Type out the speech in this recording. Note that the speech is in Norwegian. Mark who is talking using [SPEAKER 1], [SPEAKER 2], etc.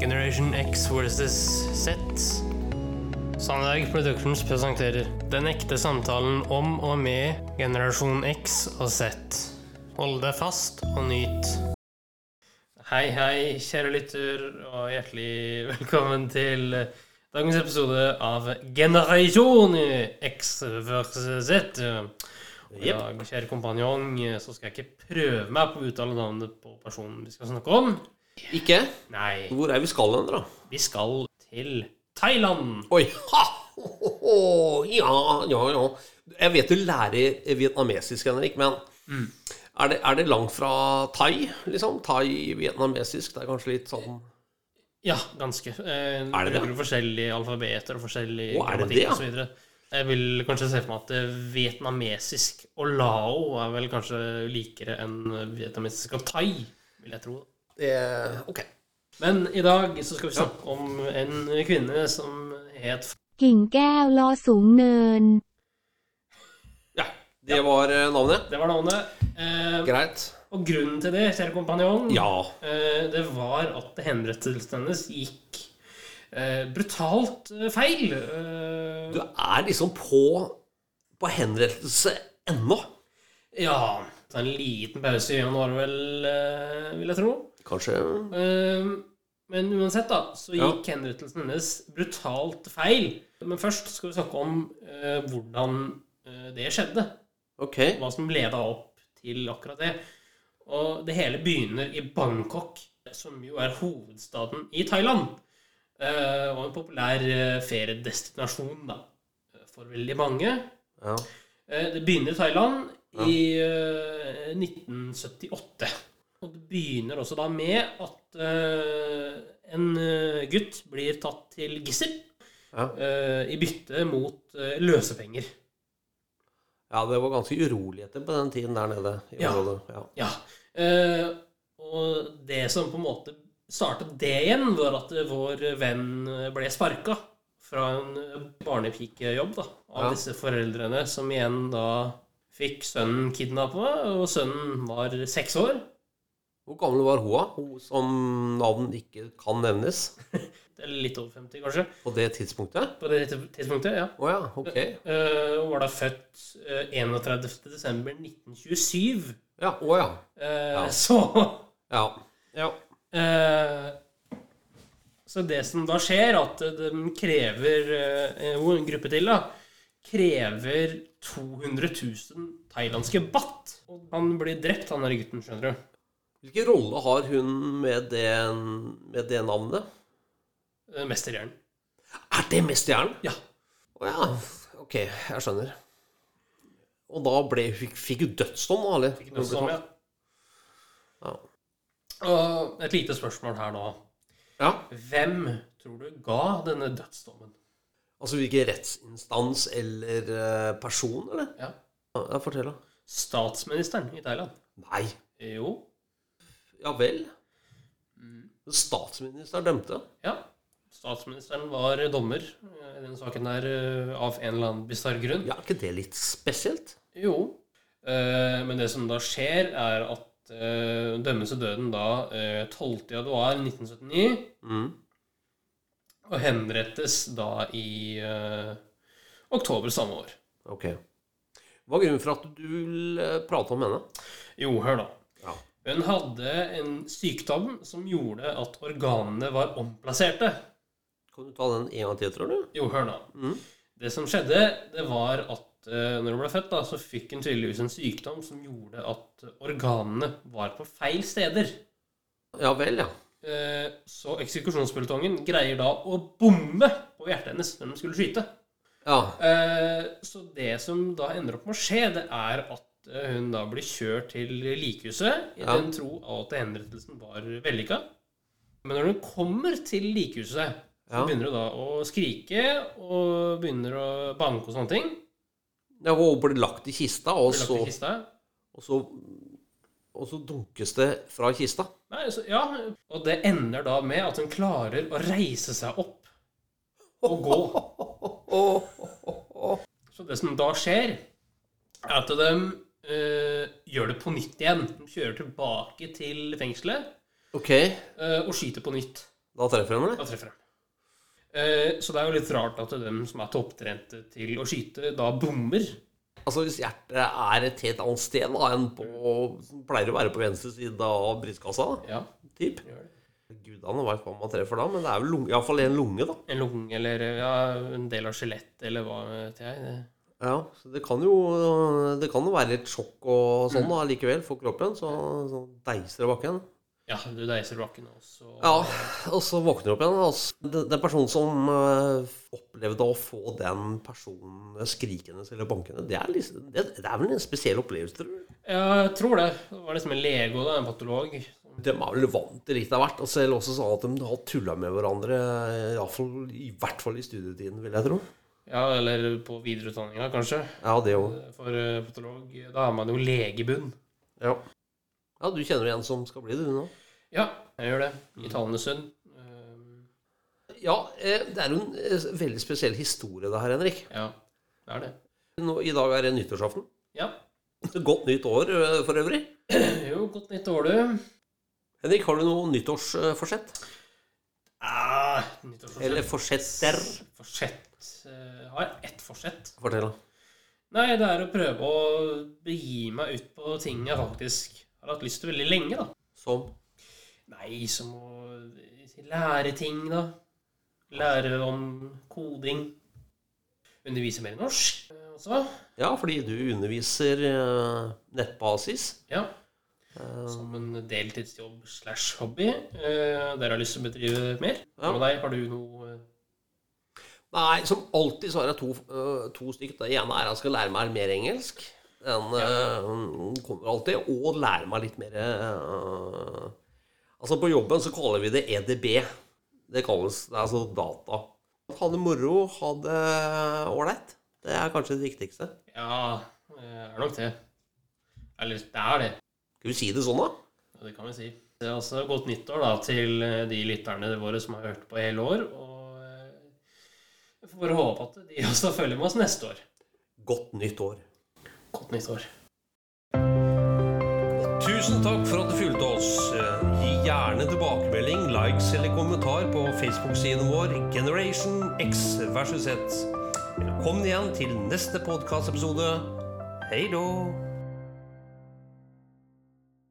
[SPEAKER 1] Generation X versus Z. Sandberg Productions presenterer Den ekte samtalen om og med generasjon X og Z. Hold deg fast og nyt. Hei, hei, kjære lytter, og hjertelig velkommen til dagens episode av Generasjon X versus Z. Og I dag, kjære kompanjong, så skal jeg ikke prøve meg på å uttale navnet på personen vi skal snakke om.
[SPEAKER 2] Ikke?
[SPEAKER 1] Nei,
[SPEAKER 2] Hvor er vi skal hen, da?
[SPEAKER 1] vi skal til Thailand.
[SPEAKER 2] Oi! Ha! Ho, ho, ho! Ja, ja, ja. Jeg vet du lærer vietnamesisk, Henrik, men er, det, er det langt fra thai? liksom? Thai-vietnamesisk? Det er kanskje litt sånn
[SPEAKER 1] Ja, ganske. Eh,
[SPEAKER 2] Er det det?
[SPEAKER 1] Bruker forskjellige alfabeter og forskjellig
[SPEAKER 2] Å, er det
[SPEAKER 1] grammatikk
[SPEAKER 2] det, ja?
[SPEAKER 1] og så videre. Jeg vil kanskje se for meg at eh, vietnamesisk og lao er vel kanskje likere enn vietnamesisk og thai, vil jeg tro.
[SPEAKER 2] eh, Ok.
[SPEAKER 1] Men i dag så skal vi snakke om en kvinne som het
[SPEAKER 3] กิ่งแก้วล้อสูงเนิน
[SPEAKER 2] Ja, det var eh, navnet.
[SPEAKER 1] Det var navnet. Eh,
[SPEAKER 2] Greit.
[SPEAKER 1] og grunnen til det, kjære kompanjong,
[SPEAKER 2] Ja.
[SPEAKER 1] eh, det var at henrettelsen hennes gikk eh, brutalt eh, feil. Eh,
[SPEAKER 2] Du er liksom på, på henrettelse ennå.
[SPEAKER 1] Ja, ta en liten pause i januar, vel, eh, vil jeg tro.
[SPEAKER 2] Kanskje
[SPEAKER 1] Eh, Men uansett, da, så
[SPEAKER 2] Ja.
[SPEAKER 1] gikk henrettelsen hennes brutalt feil. Men først skal vi snakke om eh, hvordan eh, det skjedde.
[SPEAKER 2] Ok.
[SPEAKER 1] Hva som leda opp til akkurat det. Og det hele begynner i Bangkok, som jo er hovedstaden i Thailand. Eh, Og en populær eh, feriedestinasjon, da, eh, for veldig mange.
[SPEAKER 2] Ja.
[SPEAKER 1] Eh, Det begynner i Thailand
[SPEAKER 2] Ja.
[SPEAKER 1] i eh, 1978. Og det begynner også da med at eh, en eh, gutt blir tatt til gissel
[SPEAKER 2] Ja.
[SPEAKER 1] eh, i bytte mot eh, løsepenger.
[SPEAKER 2] ja, det var ganske uroligheter på den tiden der nede. i
[SPEAKER 1] Ja.
[SPEAKER 2] området. Ja.
[SPEAKER 1] Ja. eh, Og det som på en måte startet det igjen, var at eh, vår venn ble sparka fra en eh, barnepikejobb da, av
[SPEAKER 2] Ja.
[SPEAKER 1] disse foreldrene, som igjen da fikk sønnen kidnappa, og sønnen var seks år.
[SPEAKER 2] Hvor gammel var hun, da? Hun som navn ikke kan nevnes
[SPEAKER 1] Eller litt over 50, kanskje.
[SPEAKER 2] på det tidspunktet?
[SPEAKER 1] På det tidspunktet, ja.
[SPEAKER 2] Å ja, ok.
[SPEAKER 1] Eh, Hun var da født eh, 31. desember 1927.
[SPEAKER 2] Ja, å ja.
[SPEAKER 1] Eh,
[SPEAKER 2] Ja.
[SPEAKER 1] Så
[SPEAKER 2] Ja. ja.
[SPEAKER 1] eh, Så det som da skjer, at de krever eh, Hun en gruppe til, da. Krever 200 000 thailandske baht. Og han blir drept, han der gutten, skjønner du.
[SPEAKER 2] Hvilken rolle har hun med det, med det navnet?
[SPEAKER 1] Eh, Mesterhjernen.
[SPEAKER 2] Er det mesterhjernen?
[SPEAKER 1] Ja.
[SPEAKER 2] Å ja. Ok, jeg skjønner. Og da ble, fikk, fikk hun dødsdom, da? Eller?
[SPEAKER 1] Ikke noe som, ja.
[SPEAKER 2] Ja.
[SPEAKER 1] Og et lite spørsmål her nå.
[SPEAKER 2] ja.
[SPEAKER 1] Hvem tror du ga denne dødsdommen?
[SPEAKER 2] Altså hvilken rettsinstans eller eh, person, eller?
[SPEAKER 1] Ja.
[SPEAKER 2] Ja, ja, fortell, da.
[SPEAKER 1] Statsministeren i Thailand.
[SPEAKER 2] Nei.
[SPEAKER 1] Jo.
[SPEAKER 2] Ja vel? Mm. Statsministeren dømte?
[SPEAKER 1] Ja. Statsministeren var dommer eh, i den saken der eh, av en eller annen bisarr grunn.
[SPEAKER 2] Ja, er ikke det litt spesielt?
[SPEAKER 1] Jo. Eh, Men det som da skjer, er at eh, hun dømmes til døden da eh, 12. januar 1979,
[SPEAKER 2] Mm.
[SPEAKER 1] og henrettes da i eh, oktober samme år.
[SPEAKER 2] Ok. Hva er grunnen for at du vil eh, prate om henne?
[SPEAKER 1] Jo, hør da.
[SPEAKER 2] Ja.
[SPEAKER 1] Hun hadde en sykdom som gjorde at organene var omplasserte.
[SPEAKER 2] Kan du ta den en gang til, tror du?
[SPEAKER 1] Jo, hør nå.
[SPEAKER 2] Mhm.
[SPEAKER 1] Det som skjedde, det var at eh, når hun ble født, da, så fikk hun tydeligvis en sykdom som gjorde at organene var på feil steder.
[SPEAKER 2] Ja vel, ja.
[SPEAKER 1] Eh, så eksekusjonsbultongen greier da å bomme på hjertet hennes når de skulle skyte.
[SPEAKER 2] Ja,
[SPEAKER 1] Eh, så det som da ender opp med å skje, det er at eh, hun da blir kjørt til likhuset i
[SPEAKER 2] Ja.
[SPEAKER 1] den tro at henrettelsen var vellykka. Men når hun kommer til likhuset, så
[SPEAKER 2] Ja.
[SPEAKER 1] begynner hun da å skrike og begynner å banke og sånne ting.
[SPEAKER 2] ja Hun ble lagt i kista, og
[SPEAKER 1] Blir
[SPEAKER 2] så,
[SPEAKER 1] lagt i kista.
[SPEAKER 2] og så, og så dunkes det fra kista.
[SPEAKER 1] Nei, så, ja. Og det ender da med at hun klarer å reise seg opp og gå. Så det som da skjer, er at de eh, gjør det på nytt igjen. De kjører tilbake til fengselet
[SPEAKER 2] Ok,
[SPEAKER 1] eh, og skyter på nytt.
[SPEAKER 2] Da treffer de, eller?
[SPEAKER 1] Da treffer de. Eh, Så det er jo litt rart at dem som er topptrente til å skyte, da bommer.
[SPEAKER 2] Altså Hvis hjertet er et helt annet sted da, enn på, som pleier å være på venstre side av brystkassa, da,
[SPEAKER 1] Ja,
[SPEAKER 2] typ.
[SPEAKER 1] gjør det.
[SPEAKER 2] Gudene veit hva man treffer da, men det er vel lunge, iallfall en lunge, da.
[SPEAKER 1] En lunge eller ja, en del av skjelettet eller hva vet jeg. Det.
[SPEAKER 2] Ja, så Det kan jo det kan jo være litt sjokk og sånn da, likevel for kroppen. Så, så deiser det bakken.
[SPEAKER 1] Ja, du deiser bakken også.
[SPEAKER 2] Ja, og så våkner du opp igjen. Altså, den, den personen som eh, opplevde å få den personen skrikende eller bankende, det er, liksom, det, det er vel en spesiell opplevelse, tror du?
[SPEAKER 1] Ja, jeg tror det. Det var liksom en lege og da, en patolog.
[SPEAKER 2] De er vel vant til litt av hvert. Og selv også sånn at de har tulla med hverandre, i, hvert fall, i hvert fall i studietiden, vil jeg tro.
[SPEAKER 1] Ja, eller på videreutdanninga, kanskje.
[SPEAKER 2] Ja, det òg.
[SPEAKER 1] For eh, patolog, da er man jo legebunn.
[SPEAKER 2] Ja. ja, du kjenner en som skal bli det, du nå?
[SPEAKER 1] Ja, Mm. jeg gjør det. I Talendesund. Eh,
[SPEAKER 2] Ja, eh, det er jo en eh, veldig spesiell historie det her, Henrik.
[SPEAKER 1] Ja, det er det.
[SPEAKER 2] Nå, I dag er det nyttårsaften.
[SPEAKER 1] Ja.
[SPEAKER 2] Godt nytt år eh, for øvrig.
[SPEAKER 1] Jo, godt nytt år, du.
[SPEAKER 2] Henrik, har du noe nyttårsforsett?
[SPEAKER 1] Ah, nyttårsforsett.
[SPEAKER 2] Eller forsetter?
[SPEAKER 1] Forsett eh, Jeg har ett forsett.
[SPEAKER 2] Fortell, da.
[SPEAKER 1] Nei, det er å prøve å begi meg ut på ting jeg faktisk har hatt lyst til veldig lenge, da.
[SPEAKER 2] Som
[SPEAKER 1] Nei, som å lære ting, da. Lære om koding. Undervise mer i norsk eh, også.
[SPEAKER 2] Ja, fordi du underviser eh, nettbasis. Eh,
[SPEAKER 1] Ja. Som en deltidsjobb slash hobby. Eh, Der har jeg lyst til å bedrive mer.
[SPEAKER 2] Ja.
[SPEAKER 1] Hva med deg? Har du noe eh,
[SPEAKER 2] Nei, som alltid så har jeg to, øh, to stykker. Det ene er at jeg skal lære meg mer engelsk. Den øh, kommer alltid. Og lære meg litt mer øh, Altså, på jobben så kaller vi det EDB. Det kalles det er altså data. Ha det moro, ha det øh, ålreit. Det er kanskje det viktigste.
[SPEAKER 1] Ja, eh, er nok det. Eller det er det.
[SPEAKER 2] Skal vi si det sånn, da?
[SPEAKER 1] Ja, Det kan vi si. Det er også Godt nyttår da, til eh, de lytterne våre som har hørt på hele år. Og eh, jeg får bare håpe at de også følger med oss neste år.
[SPEAKER 2] Godt nytt år.
[SPEAKER 1] Godt nyttår.
[SPEAKER 2] Tusen takk for at du fulgte oss. Eh, Gi gjerne tilbakemelding, likes eller kommentar på Facebook-siden vår Generation X versus Z. Velkommen igjen til neste podkastepisode. Hei då!